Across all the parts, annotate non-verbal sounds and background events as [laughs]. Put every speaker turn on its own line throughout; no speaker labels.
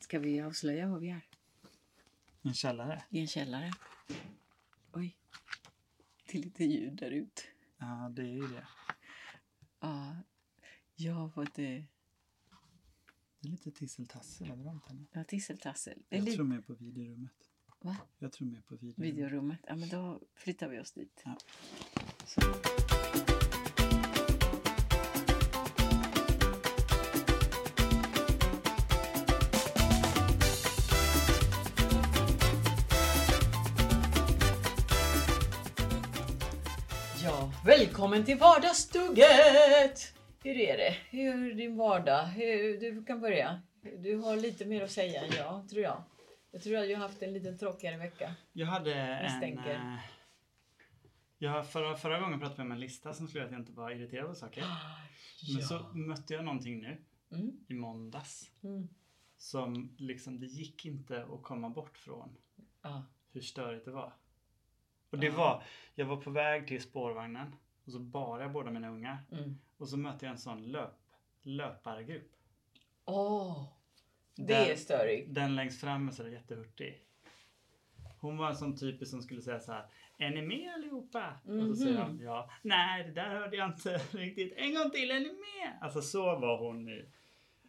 Ska vi avslöja vad vi är?
En källare?
I en källare. Oj. Det är lite ljud där ute.
Ja, det är ju det.
Ja, jag eh, var det...
Det är lite tisseltassel överallt här nu.
Ja, tisseltassel. Det är
Jag
lite-
tror mer på videorummet.
Va?
Jag tror mer på videorummet.
Videorummet. Ja, men då flyttar vi oss dit.
Ja.
Så. Ja, välkommen till vardagsstugget! Hur är det? Hur är din vardag? Hur, du kan börja. Du har lite mer att säga än jag, tror jag. Jag tror att jag har haft en lite tråkigare vecka.
Jag hade en...
Misstänker.
eh, Jag, förra, förra gången pratade vi om en lista som skulle göra att jag inte var irriterad på saker. Men så mötte jag någonting nu
Mm.
i måndags
Mm.
som liksom, det gick inte att komma bort från
Ja.
hur störigt det var. Och det
Ja.
var, jag var på väg till spårvagnen och så bar jag båda mina ungar
Mm.
och så mötte jag en sån löp, löpargrupp.
Åh, det
Där-
är störigt.
Den längst fram är sådär jättehurtig. Hon var en sån typisk som skulle säga så här. Är ni med allihopa? Och så säger
Mhm.
de ja. Nej, det där hörde jag inte [laughs] riktigt. En gång till, är ni med? Alltså så var hon nu.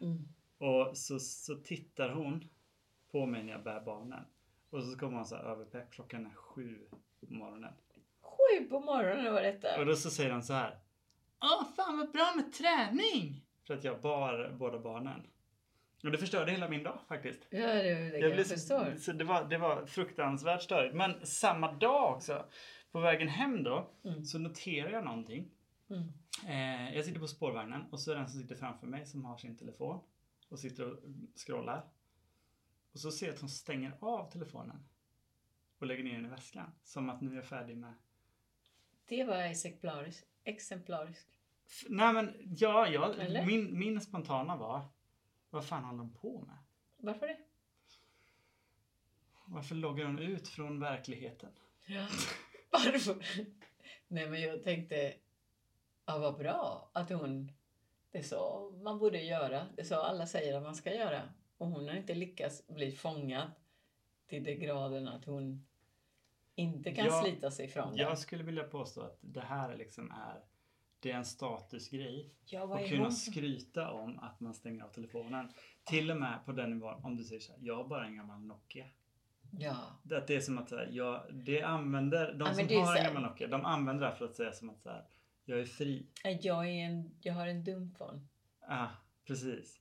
Mm.
Och så, så tittar hon på mig när jag bär barnen. Och så kommer hon så här överpepp. Klockan är sju på morgonen.
Sju på morgonen var
Och
detta.
då så säger han så här. Åh, fan vad bra med träning! För att jag bar båda barnen. Och det förstörde hela min dag faktiskt.
Ja, det, det
Jag
jag
blev
förstår.
så, så det, var, det var fruktansvärt störigt. Men samma dag också, på vägen hem då,
Mm.
så noterar jag någonting.
Mm.
Eh, jag sitter på spårvagnen och så är det den som sitter framför mig som har sin telefon och sitter och scrollar. Och så ser jag att hon stänger av telefonen och lägger ner den i väskan. Som att nu är jag färdig med...
Det var exemplariskt. exemplariskt.
F- Nej men, ja, ja
Eller?
min, min spontana var, vad fan håller hon på med?
Varför det?
Varför loggar hon ut från verkligheten?
Ja. [laughs] Varför? Nej, men jag tänkte, ja, vad bra att hon... Det är så man borde göra. Det är så alla säger att man ska göra. Och hon har inte lyckats bli fångad till den graden att hon inte kan
Ja,
slita sig från det.
Jag skulle vilja påstå att det här liksom är det är en statusgrej
Ja, vad
att
är hon?
kunna skryta om att man stänger av telefonen. Till och med på den nivån om du säger så här, jag har bara en gammal Nokia.
Ja.
Det, att det är som att så här, jag, det använder, de
men det
som
är
har
så
en
här-
gammal Nokia, de använder det här för att säga som att så här, jag är fri.
Nej, Jag, är en, jag har en dumfon.
Ah, precis.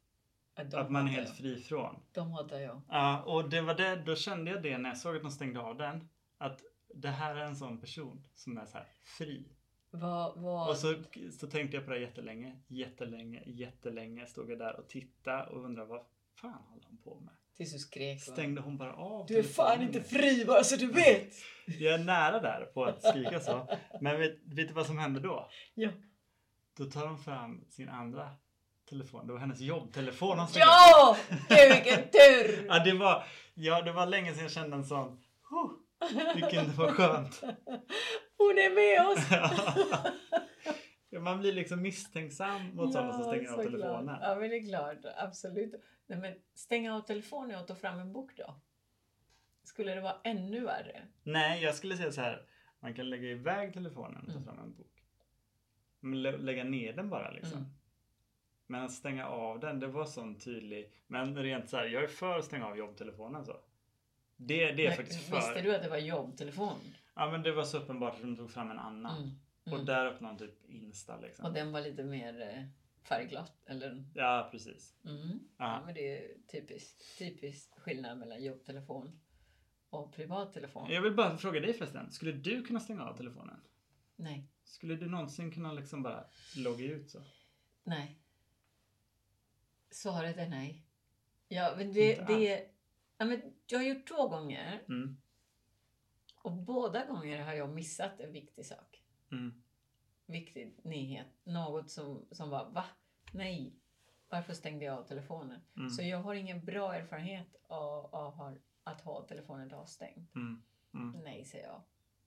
Ja, de
Att man är
hatar
helt
jag.
fri från.
De hatar jag.
Ja, och det var det, då kände jag det när jag såg att de stängde av den. Att det här är en sån person som är så här fri.
Vad, vad...
Och så, så tänkte jag på det här jättelänge, jättelänge, jättelänge. Stod jag där och tittade och undrade vad fan håller hon på med?
Tills du skrek. va?
Stängde hon bara av
Du är fan
telefonen?
inte fri bara så du vet!
Jag är nära där på att skrika så. Men vet, vet du vad som hände då?
Ja.
Då tar hon fram sin andra telefon. Det var hennes jobbtelefon hon stängde
Ja!
av.
Gud vilken tur!
ja, det var, ja, det var länge sedan jag kände en sån. Oh, vilken det
[laughs]
var skönt.
Hon är med oss!
Ja, Man blir liksom misstänksam [laughs] mot sådana som stänger av
såklart.
telefonen.
Ja men det är klart, absolut. Nej, men stänga av telefonen och ta fram en bok då? Skulle det vara ännu värre?
Nej, jag skulle säga så här. Man kan lägga iväg telefonen och ta
Mm.
fram en bok. Men lä- lägga ner den bara liksom.
Mm.
Men att stänga av den, det var sån tydlig. Men rent så här, jag är för att stänga av jobbtelefonen så. Det, det är
Men
faktiskt för.
Visste du att det var jobbtelefon?
Ja men det var så uppenbart att de tog fram en annan.
Mm. Mm.
Och där öppnade de typ Insta liksom.
Och den var lite mer eh, färgglatt eller?
Ja precis.
Mm. Ja,
Ja.
men det är typiskt, typiskt skillnad mellan jobbtelefon och privattelefon.
Jag vill bara fråga dig förresten. Skulle du kunna stänga av telefonen?
Nej,
Skulle du någonsin kunna liksom bara logga ut så?
nej. Svaret är nej. Ja, men det,
Inte
det ja, men jag har gjort två gånger
Mm.
och båda gånger har jag missat en viktig sak.
Mm.
Viktig nyhet. Något som, som var va? Nej. Varför stängde jag av telefonen?
Mm.
Så jag har ingen bra erfarenhet av, av har- att ha telefonen avstängd.
Mm. Mm.
Nej, säger jag.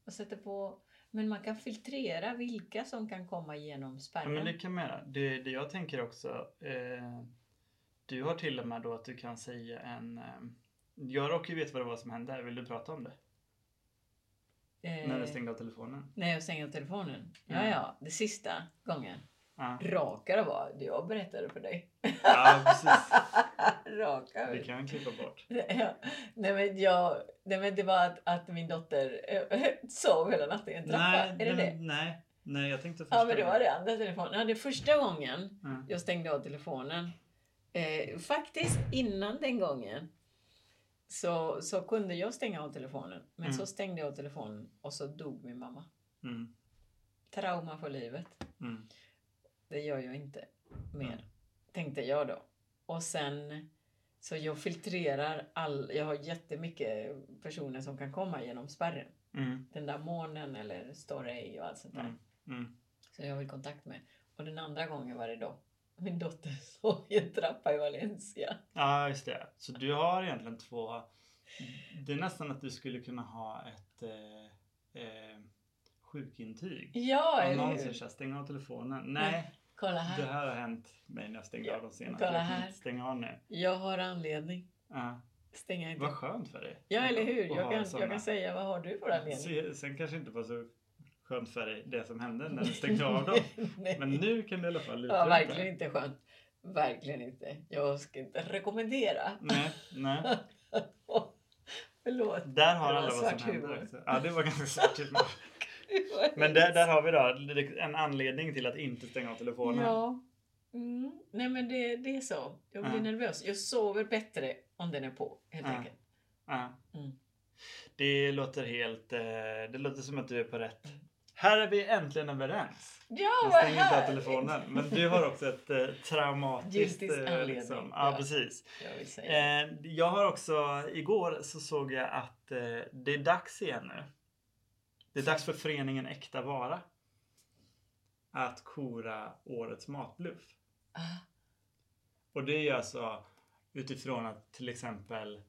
Och sätter på... Men man kan filtrera vilka som kan komma genom
Ja, men
spärren.
det kan man göra. Det, det jag tänker också. Eh, Du har till och med då att du kan säga en... ehm, Jag råkar ju veta vad det var som hände. Vill du prata om det?
Eh,
När du stängde av telefonen?
när jag stänger av telefonen. Ja,
Mm.
ja, det sista gången.
Ja,
Raka det var. Jag berättade för dig. [laughs]
ja precis.
Raka.
Det kan jag klippa bort.
Ja. Nej, men jag, nej men det var att, att min dotter eh, [laughs] sov hela natten i en trappa. är det
nej,
det?
nej, nej, jag tänkte först.
Ja men det var det andra telefonen. Ja, det första gången
Ja.
jag stängde av telefonen. Eh, faktiskt innan den gången så, så kunde jag stänga av telefonen. Men
Mm.
så stängde jag av telefonen och så dog min mamma.
Mm,
Trauma för livet.
mm,
Det gör jag inte mer,
Mm.
tänkte jag då. Och sen så jag filtrerar all, jag har jättemycket personer som kan komma genom spärren.
mm,
Den där månen eller Storey och allt sånt där.
Mm. mm.
Som jag vill kontakt med. Och den andra gången var det då min dotter [laughs] sov i en trappa i Valencia.
Ja, just det. Så du har egentligen två... Det är nästan att du skulle kunna ha ett eh, eh, sjukintyg.
Ja,
Om
eller
någon säger
hur?
såhär, stäng av telefonen. Nej,
Kolla
det
här.
här har hänt mig när jag stängde av de senaste.
Kolla
Jag kan
här.
inte stänga av nu.
Jag har anledning.
Ja,
Stänga inte.
vad skönt för dig.
Ja, eller hur?
Att
Jag
ha
kan,
såna.
jag kan säga, vad har du för anledning?
Se- Sen kanske inte var så skönt för dig det som hände när du stängde av dem.
[laughs] Nej.
Men nu kan du i alla fall luta
Ja,
dig
verkligen inte skönt. Verkligen inte. Jag ska inte rekommendera.
Nej, nej.
Förlåt.
Där har
Det var
alla vad som
svart humor.
händer. också. Ja, det var ganska svart humor. [laughs] Men där, där har vi då en anledning till att inte stänga av telefonen.
Ja. Mm. Nej, men det, det är så. Jag blir
Ja.
nervös. Jag sover bättre om den är på, helt
Ja.
enkelt.
Ja.
Mm.
Det låter helt... eh, Det låter som att du är på rätt. Här är vi äntligen överens.
Ja,
Jag
vad
stänger inte av
härligt!
telefonen. Men du har också ett eh, traumatiskt...
Giltig
eh,
anledning,
Liksom.
[laughs]
Ja,
ja.
precis.
Jag vill säga.
Eh, jag har också, igår så såg jag att eh, det är dags igen nu. Det är dags för föreningen Äkta Vara att kora årets matbluff.
Ah,
Och det är ju alltså utifrån att till exempel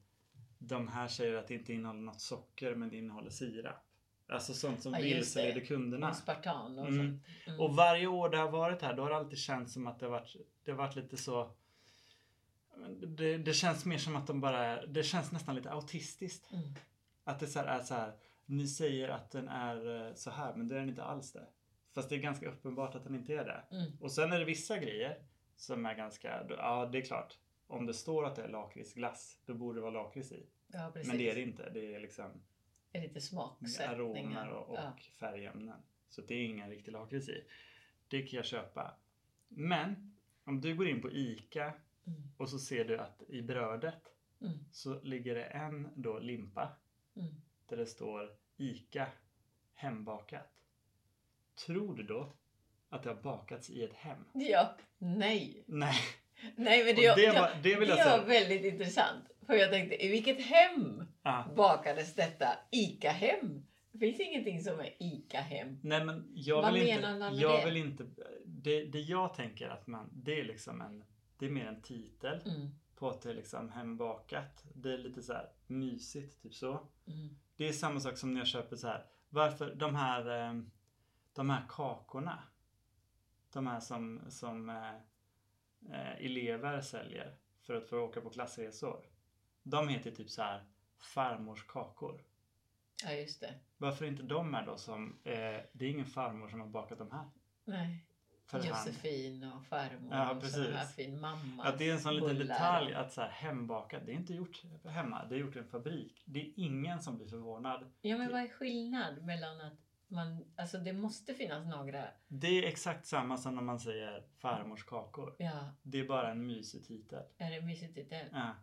de här säger att det inte innehåller något socker men det innehåller sirap. Alltså sånt som
Ja, just det.
vilseleder kunderna.
och Spartan och
Mm.
sånt. Mm.
Och varje år det har varit här, då har det alltid känts som att det har varit, det har varit lite så... Det, det känns mer som att de bara... Det känns nästan lite autistiskt.
Mm.
Att det så här är så här. Ni säger att den är eh, så här, men det är den inte alls det. Fast det är ganska uppenbart att den inte är det.
Mm.
Och sen är det vissa grejer som är ganska... Ja, det är klart. Om det står att det är lakritsglass, då borde det vara lakrits i.
Ja, precis.
Men det är det inte. Det är liksom
Det är lite smaksättningar.
aromer och, och
Ja.
färgämnen. Så det är ingen riktig lakrits i. Det kan jag köpa. Men om du går in på ICA
Mm.
och så ser du att i brödet
Mm.
så ligger det en då limpa
Mm.
där det står ICA hembakat. Tror du då att det har bakats i ett hem?
Ja, nej.
Nej,
Nej men [laughs] det,
Och det
jag,
var- det vill jag
var
säga.
väldigt intressant. För jag tänkte, i vilket hem
ja.
bakades detta? ICA-hem? Det finns ingenting som är ICA-hem.
Nej men jag
Vad
vill
menar
inte,
man med
jag
det?
vill inte, det, det jag tänker att man, det är liksom en, det är mer en titel.
Mm,
på att det är liksom hembakat. Det är lite så här mysigt, typ så.
mm,
Det är samma sak som när jag köper så här. Varför de här, eh, de här kakorna. De här som, som eh, eh, elever säljer för att få åka på klassresor. De heter typ så här farmors kakor.
ja just det.
Varför är inte de med då som, eh, det är ingen farmor som har bakat de här.
Nej.
För hand.
Josefin och farmor
Ja,
och
precis.
sån här fin mamma.
Att det är en sån liten
bullar.
detalj att så här, hembakat, det är inte gjort hemma, det är gjort i en fabrik. Det är ingen som blir förvånad.
Ja men vad är skillnad mellan att man, alltså det måste finnas några,
Det är exakt samma som när man säger farmors kakor.
ja,
Det är bara en mysig titel.
är det mysigt titel?
Ja.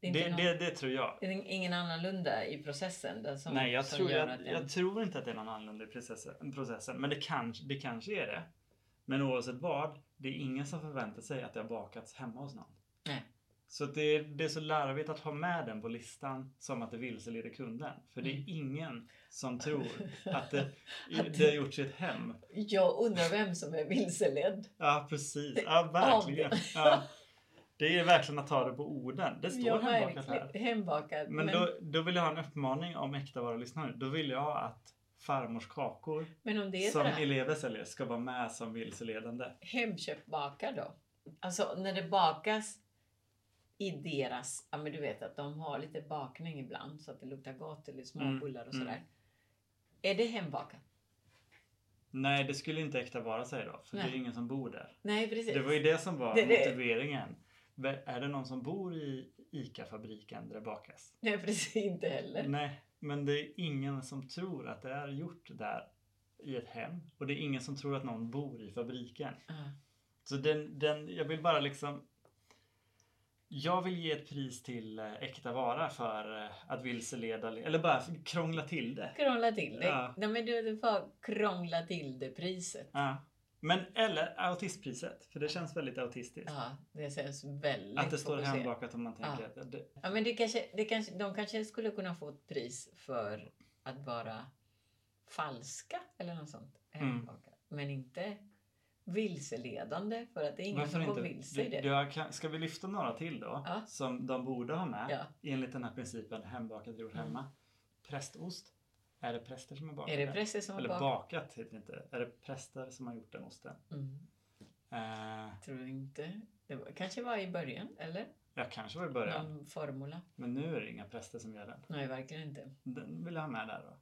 Det är
Det,
inte
det,
någon,
det, tror jag.
det är ingen annorlunda i processen? Den som,
Nej, jag
som
tror,
gör
jag,
att den-
jag tror inte att det är någon annorlunda i processen, processen. Men det kanske, det kanske är det. Men oavsett vad, det är ingen som förväntar sig att det har bakats hemma hos någon.
Nej.
Så att det är, det är så larvigt att ha med den på listan som att det vilseleder kunden. För det är
Mm.
ingen
[laughs]
som tror att det, det har gjorts i ett hem.
Jag undrar vem som är vilseledd.
Ja, precis. Ja, verkligen. Ja. Det är verkligen att ta det på orden. Det står
Ja,
hembakat
verkligen.
här.
Hembakat.
Men då, då vill jag ha en uppmaning om äkta varulyssnare. Då vill jag att farmors kakor
men om det är
som
sådär,
elever säljer ska vara med som vilseledande.
hemköpbakar då? Alltså när det bakas i deras, ja men du vet att de har lite bakning ibland så att det luktar gott eller små
Mm,
bullar och
mm.
sådär. Är det hembakat?
Nej, det skulle inte äkta vara säger då. För det är
Nej.
ju ingen som bor där.
Nej, precis.
Det var ju det som var
Det- det-
motiveringen. Men Är det någon som bor i ICA-fabriken där det bakas?
Nej, precis. Inte heller.
Nej, men det är ingen som tror att det är gjort där i ett hem. Och det är ingen som tror att någon bor i fabriken.
Ja.
Så den, den, jag vill bara liksom jag vill ge ett pris till eh, äkta vara för eh, att vilseleda eller bara för- krångla till det.
Krångla till det.
Ja.
Nej, men du får krångla till det priset.
Ja. Men eller autistpriset, för det känns väldigt autistiskt.
Ja, det känns väldigt
att det står
fokuserat.
hembakat om man tänker att det,
Ja, men det kanske, det kanske, de kanske skulle kunna få ett pris för att vara falska eller något sånt.
Mm.
hembakat. Men inte vilseledande för att det är ingen
Varför
som går
inte?
vilse i
Du-
det.
du har- kan- ska vi lyfta några till då?
Ja.
Som de borde ha med
Ja.
enligt den här principen hembakat gjort
Mm.
hemma. Prästost. Är det präster som har bakat
Är det
den?
präster som har
Eller
bakat?
bakat heter det inte. Är det präster som har gjort den osten?
Mm,
Eh,
tror inte. Det var, kanske var i början, eller?
jag kanske var i början.
Någon formula.
Men nu är det inga präster som gör den.
Nej, verkligen inte.
[laughs] Den vill jag ha med där då.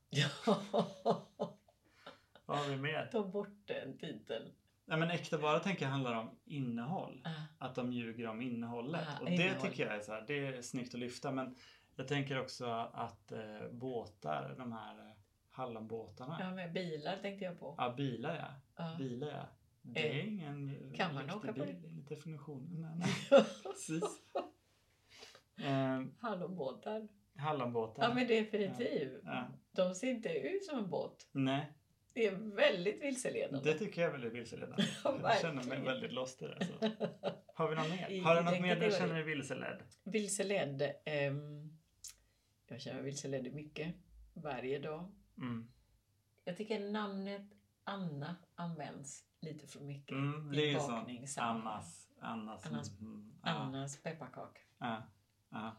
Vad har vi mer?
Ta bort den titeln.
Nej men äkta vara tänker jag handlar om innehåll.
Ah,
att de ljuger om innehållet.
Ah,
och
innehåll.
det tycker jag är, så här, det är snyggt att lyfta. Men jag tänker också att eh, båtar, de här eh, hallonbåtarna.
ja, men bilar tänkte jag på. Ah.
Ja, bilar ja.
Ja.
Bilar ja. Det är
Eh,
ingen
kan man
riktig
åka på
bil enligt definitionen. Nej, nej.
[laughs]
Precis. Eh,
Hallonbåtar.
hallonbåtar.
Ja, men definitivt.
Ja.
De ser inte ut som en båt.
Nej,
Det är väldigt vilseledande.
det tycker jag är väldigt vilseledande.
[laughs] Ja,
jag känner mig
verkligen.
väldigt lost i det. Så. Har vi något
I-
mer? Har du
i
något
den
mer du
kategorin.
känner dig vilseledd?
Vilseledd. ehm, jag känner mig vilseledd i mycket. Varje dag.
Mm.
Jag tycker namnet Anna används lite för mycket.
Mm,
I
det är ju sånt.
bakningssammanhang.
Annas. Annas.
Annas-
mm, ja.
Annas pepparkaka.
Ja, ja,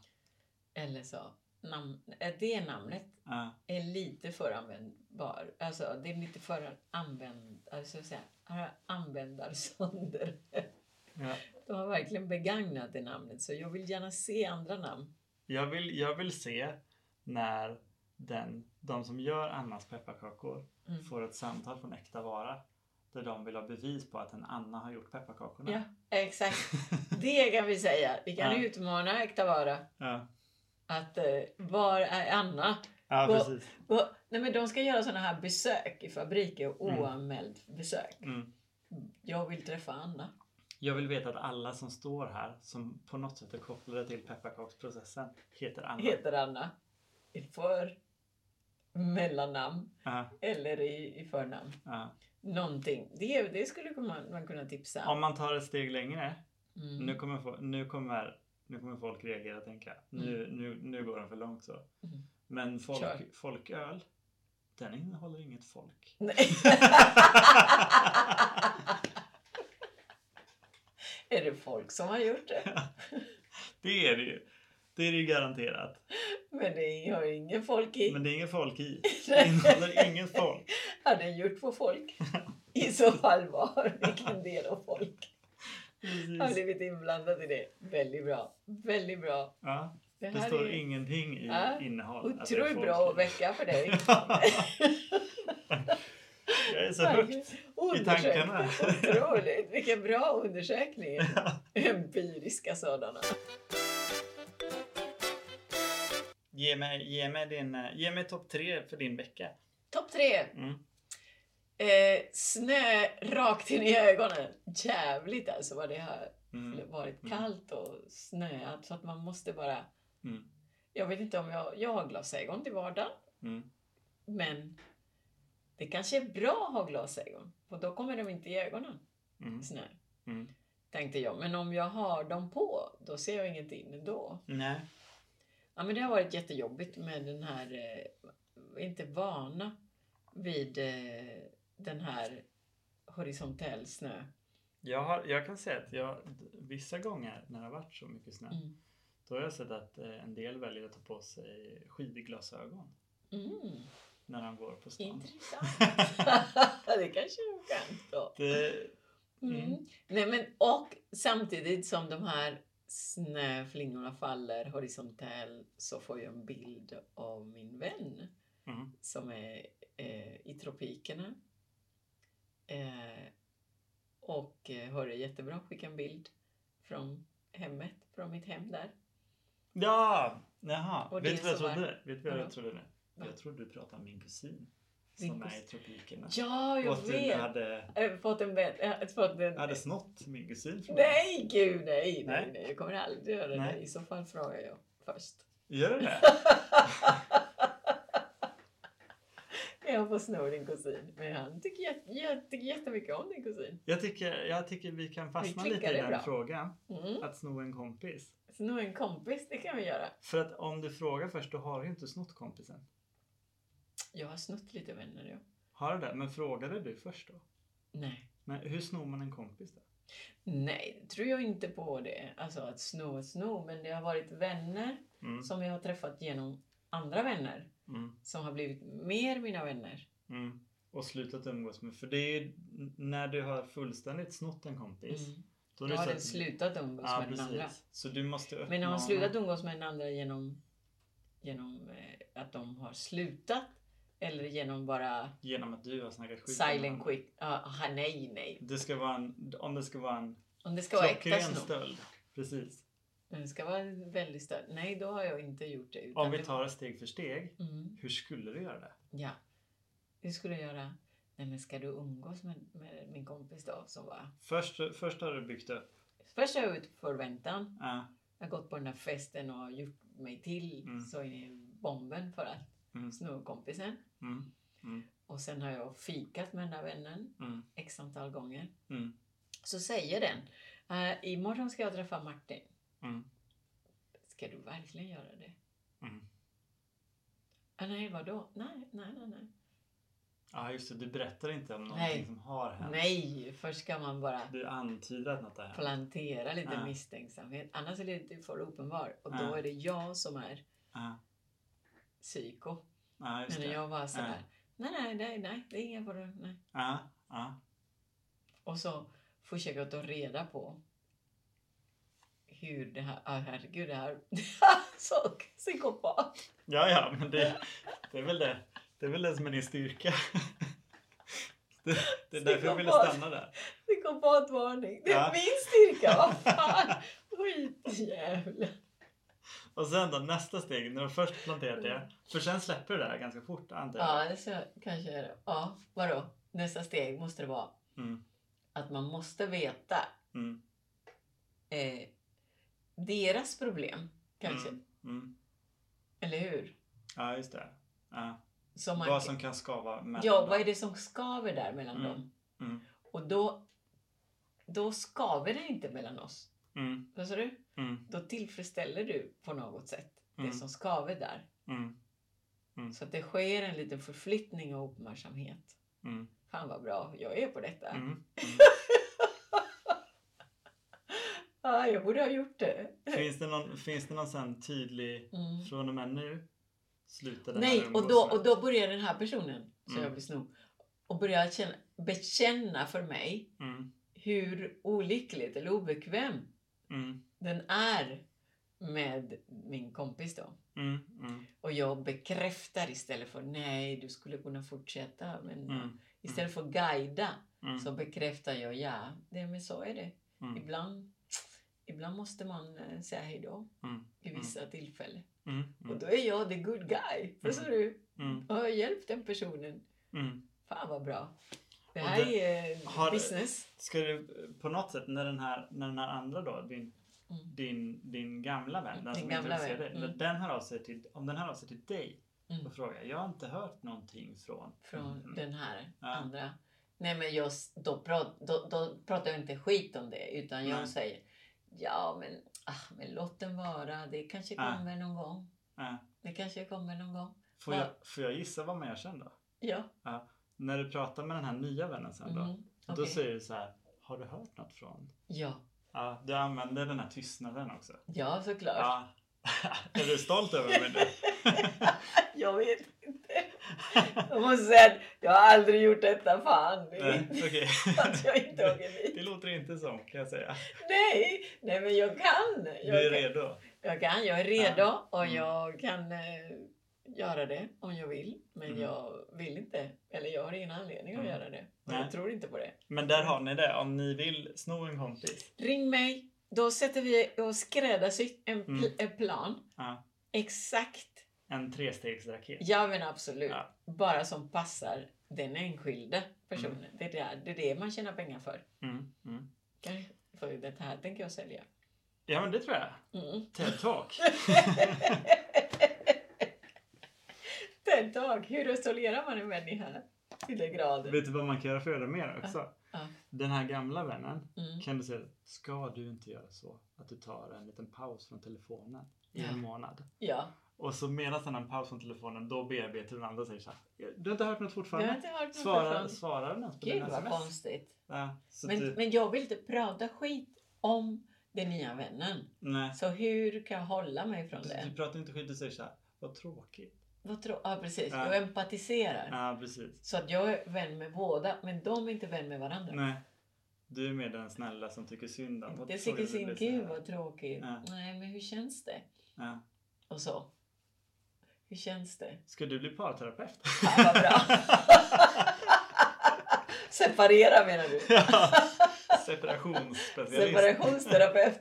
Eller så. Namn, eh, det namnet
ja.
är lite för användbar. Alltså det är lite för använd... Alltså, så här, användarsonder.
Ja.
De har verkligen begagnat det namnet. Så jag vill gärna se andra namn.
Jag, vill, jag vill se när den, de som gör Annas pepparkakor
Mm.
får ett samtal från Äkta Vara där de vill ha bevis på att en Anna har gjort pepparkakorna.
Ja, [laughs] exakt. Det kan vi säga. Vi kan
Ja.
utmana Äkta Vara.
ja.
Att eh, var är Anna?
ja
Och-
precis.
Och, nej men de ska göra sådana här besök i fabriker.
Mm.
Oanmäld besök.
Mm.
Jag vill träffa Anna.
Jag vill veta att alla som står här som på något sätt är kopplade till pepparkaksprocessen heter Anna.
Heter Anna. I för mellannamn.
Ja,
Eller i, i förnamn.
ja.
Någonting. Det, det skulle man, man kunna tipsa
Om man tar ett steg längre.
Mm.
Nu, kommer, fo- nu, kommer, nu kommer folk reagera och tänka. Nu, nu, nu går de för långt så.
Mm.
Men
Kör.
folk, folköl, den innehåller
[laughs]
inget folk.
Nej. Är det folk som har gjort det? [laughs]
Det är det ju. Det är det ju garanterat.
Men det har ju ingen folk i.
Men det är inget
[laughs]
folk i. Det innehåller inget folk.
Hade den gjort på [laughs] folk? I så fall var vilken del av folk har
Precis.
blivit inblandad i det. Väldigt bra. Väldigt bra.
Ja,
Det
det
här
står
är
ingenting i
Ja,
innehåll. att det är
otroligt
folk
bra
i.
vecka för
[laughs]
dig.
Jag är så högt i tankarna.
Otroligt. Vilka bra
[laughs]
undersökningar. Empiriska sådana.
Ge mig, ge mig, din, eh, ge mig topp tre för din vecka.
Topp tre.
Mm.
Eh, snö rakt in i ögonen. Jävligt alltså vad det har
Mm.
varit
Mm.
kallt och snöat så att man måste bara...
Mm.
Jag vet inte om jag... Jag har glasögon till vardagen
Mm.
men det kanske är bra att ha glasögon för då kommer de inte i ögonen,
Mm.
snö.
Mm.
Tänkte jag. Men om jag har dem på då ser jag ingenting ändå.
Nej.
Ja men det har varit jättejobbigt med den här, eh, inte vana vid eh, den här horisontell snö.
Jag, har, jag kan säga att jag, vissa gånger när det har varit så mycket snö
Mm.
Då har jag sett att eh, en del väljer att ta på sig skidglasögon
Mm.
när de går på stan.
Intressant. [laughs] det kanske du kan då.
Det,
Mm.
Mm.
Nej, men, och samtidigt som de här snöflingorna faller horisontellt så får jag en bild av min vän
Mm.
som är eh, i tropikerna. Eh, och eh, har det jättebra. Skicka en bild från hemmet, från mitt hem där.
Ja! Jaha.
Och det
Vet du vad jag
så var-
trodde? Vet du vad
Vadå?
jag trodde nu?
Va?
Jag trodde du pratade om min kusin.
Din
Som är i
kusin.
tropikerna.
Ja, jag
Och att du
vet!
hade,
Eh, Fått en bädd. eh, Fått en...
hade snott min kusin från mig.
Nej, gud nej, nej,
Nej.
nej. Jag kommer aldrig göra
Nej.
det. I så fall frågar jag först.
Gör du
[laughs]
det?
jag får sno din kusin. Men han tycker, jätte, jag tycker jättemycket om din kusin.
Jag tycker, jag tycker vi kan fastna
klickar
lite i
det
den
bra.
frågan.
Mm.
Att sno en kompis.
Sno en kompis, det kan vi göra.
För att om du frågar först, då har du ju inte snott kompisen.
Jag har snott lite vänner jag.
Har du det? Men frågade du först då?
Nej.
Men hur snor man en kompis då?
Nej, tror jag inte på det. Alltså att sno och sno. Men det har varit vänner
Mm,
som jag har träffat genom andra vänner.
mm,
Som har blivit mer mina vänner.
mm. Och slutat umgås med. För det är ju när du har fullständigt snott en kompis.
Mm.
Då är
Då
det
har
så
den
att-
slutat umgås
Ja,
med den andra.
precis. Så du måste uppmana.
Men har man slutat umgås med den andra genom, genom eh, att de har slutat? Eller genom bara
Genom att du har snackat skit om
silent
varandra.
quick? Aha, nej, nej.
Det ska vara en, om det ska vara en
Om det ska vara äkta
klockren
snopp.
stöld. Precis.
Om det ska vara en väldigt stöd. Nej, då har jag inte gjort det. utan
Om vi
det-
tar det steg för steg.
Mm,
Hur skulle du göra det?
ja. Hur skulle jag göra? Nej, men ska du umgås med, med min kompis då? Som var...
Först, först har du byggt upp.
Först har jag ut förväntan.
Ja.
Jag har gått på den här festen och gjort mig till
Mm.
så in i bomben för att
Mm.
sno kompisen.
Mm. Mm.
Och sen har jag fikat med den här vännen
Mm.
x antal gånger.
Mm.
Så säger den, "Eh, imorgon ska jag träffa Martin.
Mm.
Ska du verkligen göra det?
Mm.
"Ah, nej, vadå? Nej, nej, nej. Nej,
Ja, just det. Du berättar inte om någonting
Nej.
som har hänt.
nej först ska man bara
Du antyder att något har hänt.
plantera lite
Ja.
misstänksamhet. Annars är det inte för uppenbar. Och då
Ja.
är det jag som är
Ja.
psyko.
Ja, just
Men
det.
jag bara så här, nej, nej, nej, nej, det är ingen fara. Nej.
Ja. Ja.
Och så försöker jag ta reda på hur det här, ah, herregud det här, [laughs] så psykopat.
ja, ja, men det, det är väl det. Det är väl det som är din styrka. Det, det är därför jag ville
Psykopat.
stanna där.
Psykopatvarning. Det är
Ja.
min styrka,
[laughs]
vad fan. Skitjävla.
Och sen då nästa steg, när du först planterat det. För sen släpper du det här ganska fort antar jag.
Ja, det så kanske är det. Ja, vadå? Nästa steg måste det vara
Mm,
att man måste veta
mm,
eh, deras problem, kanske.
mm, mm.
Eller hur?
Ja, just det. Ja.
Som man,
Vad som kan skava mellan
Oh ja,
dem.
vad är det som skaver där mellan
Mm.
dem?
Mm,
Och då, då skaver det inte mellan oss.
mm,
Vad sa du?
mm,
Då tillfredsställer du på något sätt
Mm.
det som skaver där.
mm,
Så att det sker en liten förflyttning av uppmärksamhet.
mm,
Fan vad bra jag är på detta.
mm.
Ah, jag borde ha gjort det.
Finns det någon, finns det någon sen tydlig
Mm.
Från och med nu slutar det
Nej,
här
och då,
umgås med-
och då börjar den här personen, som
Mm.
jag vill sno, och börjar känna, bekänna för mig
Mm,
hur olyckligt eller obekväm
mm,
den är med min kompis då.
mm, mm,
Och jag bekräftar istället för nej, du skulle kunna fortsätta. Men
mm,
istället för guida
mm,
så bekräftar jag ja, det, men så är det.
mm,
Ibland, ibland måste man eh, säga hej då
mm,
i vissa tillfällen.
mm,
Och då är jag the good guy. Förstår du?
mm,
Och jag har hjälpt den personen.
mm.
Fan vad bra. Det
Och
här
det-
är eh,
har-
business.
Ska du på något sätt när den här, när den här andra då, din,
Mm.
din, din gamla vän, den
Din
som
gamla
inte vill se
vän,
dig, när
mm.
den hör av sig till, om den hör av sig till dig
Mm.
och frågar, jag har inte hört någonting från,
Från
Mm.
den här
Ja.
andra. Nej men jag, s- då, pra, då, då pratar jag inte skit om det utan jag
Nej.
säger Ja men, ah, men låt den vara. Det kanske
Ja.
kommer någon gång.
Ja.
Det kanske kommer någon gång.
eh, Får,
Ja.
jag, får jag gissa vad man gör sen då?
Ja.
När du pratar med den här nya vännen sen då,
mhm,
då
okej.
säger du så här, har du hört något från?
Ja.
Ja, du använder den här tystnaden också.
Ja, såklart. [laughs]
[laughs] Ja. Är du stolt över mig nu?
Jag vet inte. Och hon säger jag har aldrig gjort detta fan. [laughs]
Nej, okej.
Att jag inte åker dit.
Det låter inte som kan jag säga.
Nej, nej men jag kan.
Du är
Jag kan,
redo.
jag, kan, jag är redo
Ja.
och
Mm.
jag kan eh, göra det om jag vill. Men
Mm.
jag vill inte. Eller jag har ingen anledning att
Mm.
göra det.
Nej.
Jag tror inte på det.
Men där har ni det. Om ni vill sno en kompis.
Ring mig. Då sätter vi och skräddarsyr en, pl-
Mm.
en plan.
Ja.
Exakt.
En trestegsraket.
Ja men absolut.
Ja.
Bara som passar den enskilde personen. Det, är det, det är det man tjänar pengar för.
Mm, mm.
Okej, För det här tänker jag sälja.
Ja men det tror jag.
Mm. [laughs]
TED-talk.
[laughs] Den dag, hur isolerar man en människa till den graden?
Vet du vad man kan göra för att göra mer också?
Ja.
Den här gamla vännen
Mm.
kan du säga, ska du inte göra så att du tar en liten paus från telefonen i
Ja.
en månad?
Ja,
Och så medan han har en paus från telefonen då bearbetar den andra och säger så här, du har inte hört något
jag har
fortfarande?
inte hört något
Svarar,
ifrån.
svarar den ens på
Gud
dina
vad
sms?
konstigt.
Ja, så typ-
Men,
du,
men jag vill inte prata skit om den nya vännen.
nej,
Så hur kan jag hålla mig från
du,
det?
du pratar inte skit, du säger så här, vad tråkigt.
Vad tror Ja precis,
Ja.
jag empatiserar.
Ja, precis.
Så att jag är vän med båda, men de är inte vän med varandra.
Nej, du är mer den snälla som tycker synd om. Vad
Det
tror
tycker
du
sin
blir så här?
gud vad tråkigt.
Ja.
Nej men hur känns det?
Ja.
Och så. Hur känns det?
Ska du bli
[laughs]
parterapeut? [laughs]
Ja, vad bra. Separera menar du?
Ja, Separationsspecialist. [laughs]
Separationsterapeut.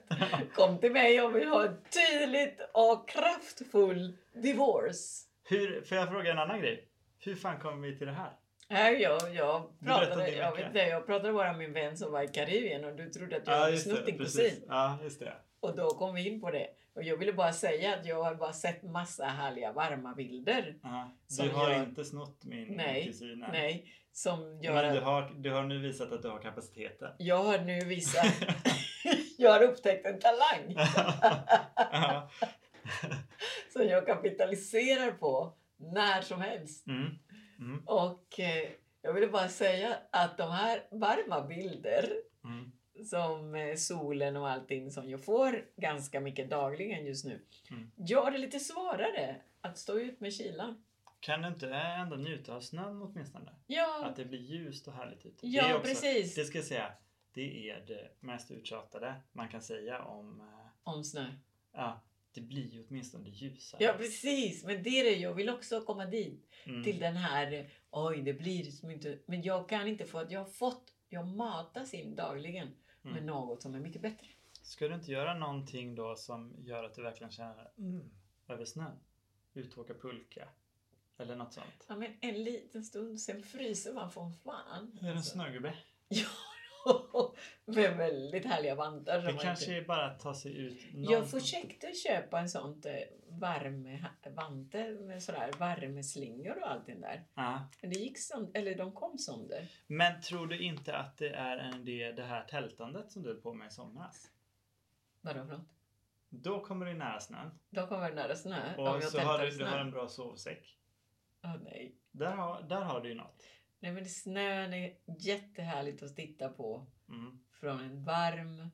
Kom till mig, jag vill ha en tydligt och kraftfull divorce.
Hur, får jag fråga en annan grej? Hur fan kom vi till det här?
Nej, jag, jag,
Du berättade
pratade,
i
jag,
veckan.
vet inte, jag pratade bara med min vän som var i Karibien och du trodde att jag hade snott din
precis.
kusin.
Ja, just det.
Och då kom vi in på det. Och jag ville bara säga att jag har bara sett massa härliga varma bilder.
Ja.
Som
Du har
gör-
inte snott min
Nej,
kusin än.
Nej, som gör
Men
att-
du har, du har nu visat att du har
[laughs]
kapaciteten.
Jag har nu visat...
[laughs]
[laughs] jag har upptäckt en talang
Ja.
som jag kapitaliserar på när som helst.
mm. Mm.
Och eh, jag ville bara säga att de här varma bilder
Mm.
som eh, solen och allting som jag får ganska mycket dagligen just nu
Mm.
gör det lite svårare att stå ut med kylan.
Kan du inte ändå njuta av snön åtminstone?
Ja,
Att det blir ljust och härligt ute. Det är
ja
också-
precis.
Det ska jag säga. Det är det mest uttjatade man kan säga om... eh,
Om snö.
Ja, det blir ju åtminstone ljusare.
Ja, precis. Men det är det. Jag vill också komma dit.
Mm.
till den här eh, oj det blir som inte, men jag kan inte få att jag har fått, jag matas in dagligen med
Mm.
något som är mycket bättre.
Ska du inte göra någonting då som gör att du verkligen känner mm, över snön? Ut och åka pulka? Eller något sånt.
Ja men en liten stund, sen fryser man från fan.
Eller en
Alltså.
snögubbe.
[laughs] med väldigt härliga vantar. som
Det
man
kanske
inte-
är bara att ta sig ut
Jag
någonstans.
försökte köpa en sånt eh, värmevante med sådär värmeslingor och allt det där.
Ja.
Men det gick som, eller de kom som det.
Men tror du inte att det är en det, det här tältandet som du höll på med i somras?
Vadå för något?
Då kommer du nära snön.
Då kommer det nära snö.
Och
om jag
så har
tältar
du,
i
du har
snö.
en bra sovsäck.
Åh, nej.
Där har, där har du ju något.
Nej men snön är jättehärligt att titta på
Mm.
från en varm,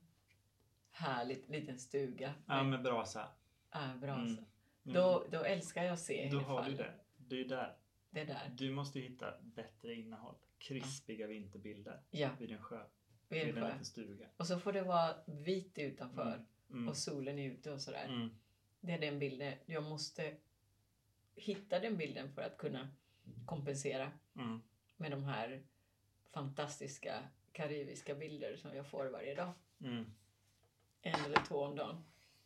härligt liten stuga
Ja,
med
med brasa.
ah, brasa.
Mm. Mm.
Mm. Då, då älskar jag att se
Då
hur
har du
faller.
det. Det är där.
det där.
Du måste hitta bättre innehåll. Krispiga vinterbilder
Ja,
vid en sjö.
vid en
Vid en
sjö.
liten stuga.
Och så får det vara vitt utanför
Mm.
och solen är ute och sådär.
Mm.
Det är den bilden. Jag måste hitta den bilden för att kunna kompensera
Mm.
med de här fantastiska karibiska bilder som jag får varje dag.
Mm.
En eller två om dagen.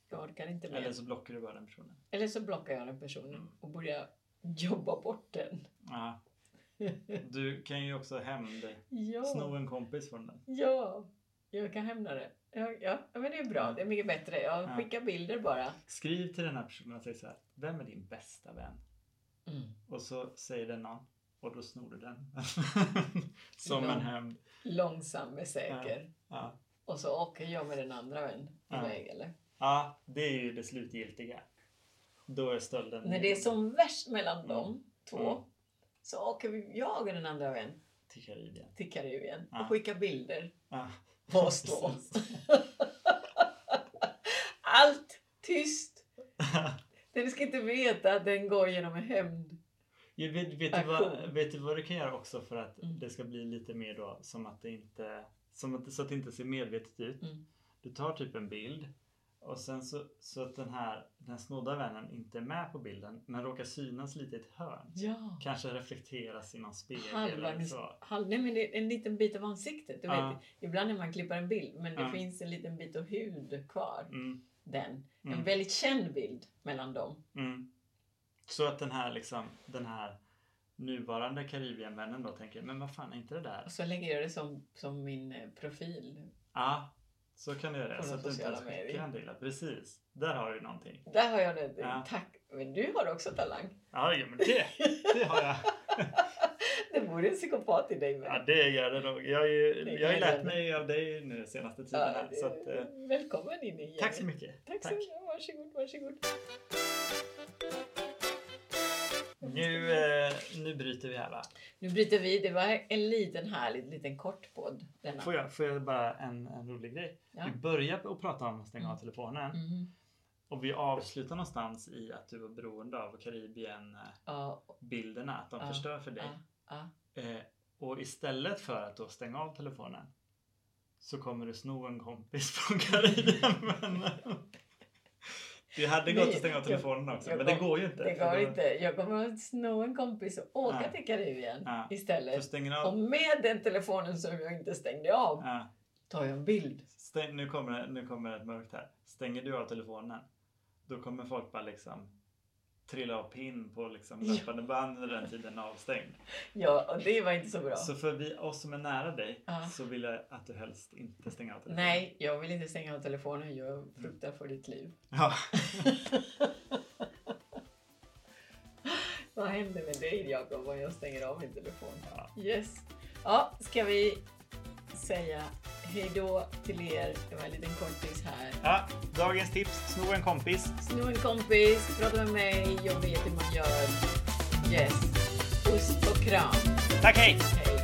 Jag orkar inte mer.
Eller så Mm. blockar du bara den personen.
Eller så blockar jag den personen och börjar jobba bort den. [laughs]
Ja. Du kan ju också hämnd... Sno
ja.
en kompis från den.
ja, jag kan hämna det. Ja, ja, men det är bra. Det är mycket bättre. Jag
Ja.
skickar bilder bara.
Skriv till den här personen och säg så här. Vem är din bästa vän?
Mm.
Och så säger den någon. Och då snor du den. Som en
Ja.
hämnd.
Långsam men säker.
Ja.
Och så åker jag med den andra vän
Ja.
iväg eller?
ja, det är ju det slutgiltiga. Då är stölden...
När det är som värst mellan
Mm.
de två
Mm.
så åker vi, jag och den andra vän
Till Karibien.
till Karibien
Ja.
och skickar bilder [laughs]
Ja.
på oss två.
Precis. [laughs]
Allt tyst. Den ska inte veta att den går genom en hämnd.
Ja, vet, vet, du vad,
Aktion.
vet du vad du kan göra också för att
Mm.
det ska bli lite mer då som att det inte som att, så att det inte ser medvetet ut.
Mm.
Du tar typ en bild och sen så, så att den här den snodda vännen inte är med på bilden men råkar synas lite i ett hörn.
Ja.
Kanske reflekteras i någon spegel liksom.
Halva
eller
nis-
så.
Halv, nej men det är en liten bit av ansiktet. Du
Ja.
vet, ibland när man klipper en bild men det
Ja.
finns en liten bit av hud kvar.
Mm,
Den. En
Mm.
väldigt känd bild mellan dem.
mm. Så att den här liksom den här nuvarande Karibienvännen då tänker men vad fan är inte det där?
Och så lägger jag det som, som min eh, profil.
Ja, så kan du göra.
På
Så
de
att du inte
sociala
ens skickar
medier.
en bild. Precis, där har du någonting.
Där har jag det.
Ja.
Tack. Men du har också talang.
Ja, ja men det, det har jag.
Det vore en psykopat i dig med.
Ja, det gör det nog. Jag har ju
Det
jag har ju
gläder
lärt
mig.
mig av dig nu senaste tiden.
Ja,
här,
det-
så att, eh,
Välkommen in i
tack så
gänget.
mycket.
Tack så mycket. Varsågod, varsågod.
Nu, eh, nu bryter vi här va?
Nu bryter vi. Det var en liten härlig liten kort podd. Denna.
Får jag, får jag bara en, en rolig grej?
Ja.
Vi börjar att prata om att stänga av
Mm.
telefonen
Mhm.
och vi avslutar någonstans i att du var beroende av Karibien-bilderna,
Ja,
att de
Ja,
förstör för dig.
ja, ja.
Eh, och istället för att då stänga av telefonen så kommer du sno en kompis [laughs] från Karibien. Det eh, hade gått att stänga av telefonen också,
jag
men det
kom-
går ju inte.
Det
för
går
då-
inte. Jag kommer att sno en kompis och åka
Ja.
till Karibien
Ja. Så
istället.
stänger av.
Och med den telefonen som jag inte stängde av
Ja.
tar jag en bild.
Stäng, nu, kommer, det- nu kommer det mörkt här. Stänger du av telefonen, då kommer folk bara liksom trilla av pinn på liksom
Ja.
löpande band under den tiden avstängd.
Ja, och det var inte så bra.
Så för vi, oss som är nära dig
Ja.
så vill jag att du helst inte stänger av telefonen.
Nej, jag vill inte stänga av telefonen. Jag fruktar för ditt liv.
Ja.
Vad händer med dig Jakob om jag stänger av min telefon?
Ja.
Yes. Ja, ska vi säga hej då till er. Det var en liten kortis här.
Ja, dagens tips, sno en kompis.
Sno en kompis, prata med mig. Jag vet hur man gör. Yes. Puss och kram.
Tack, hej!
Hej.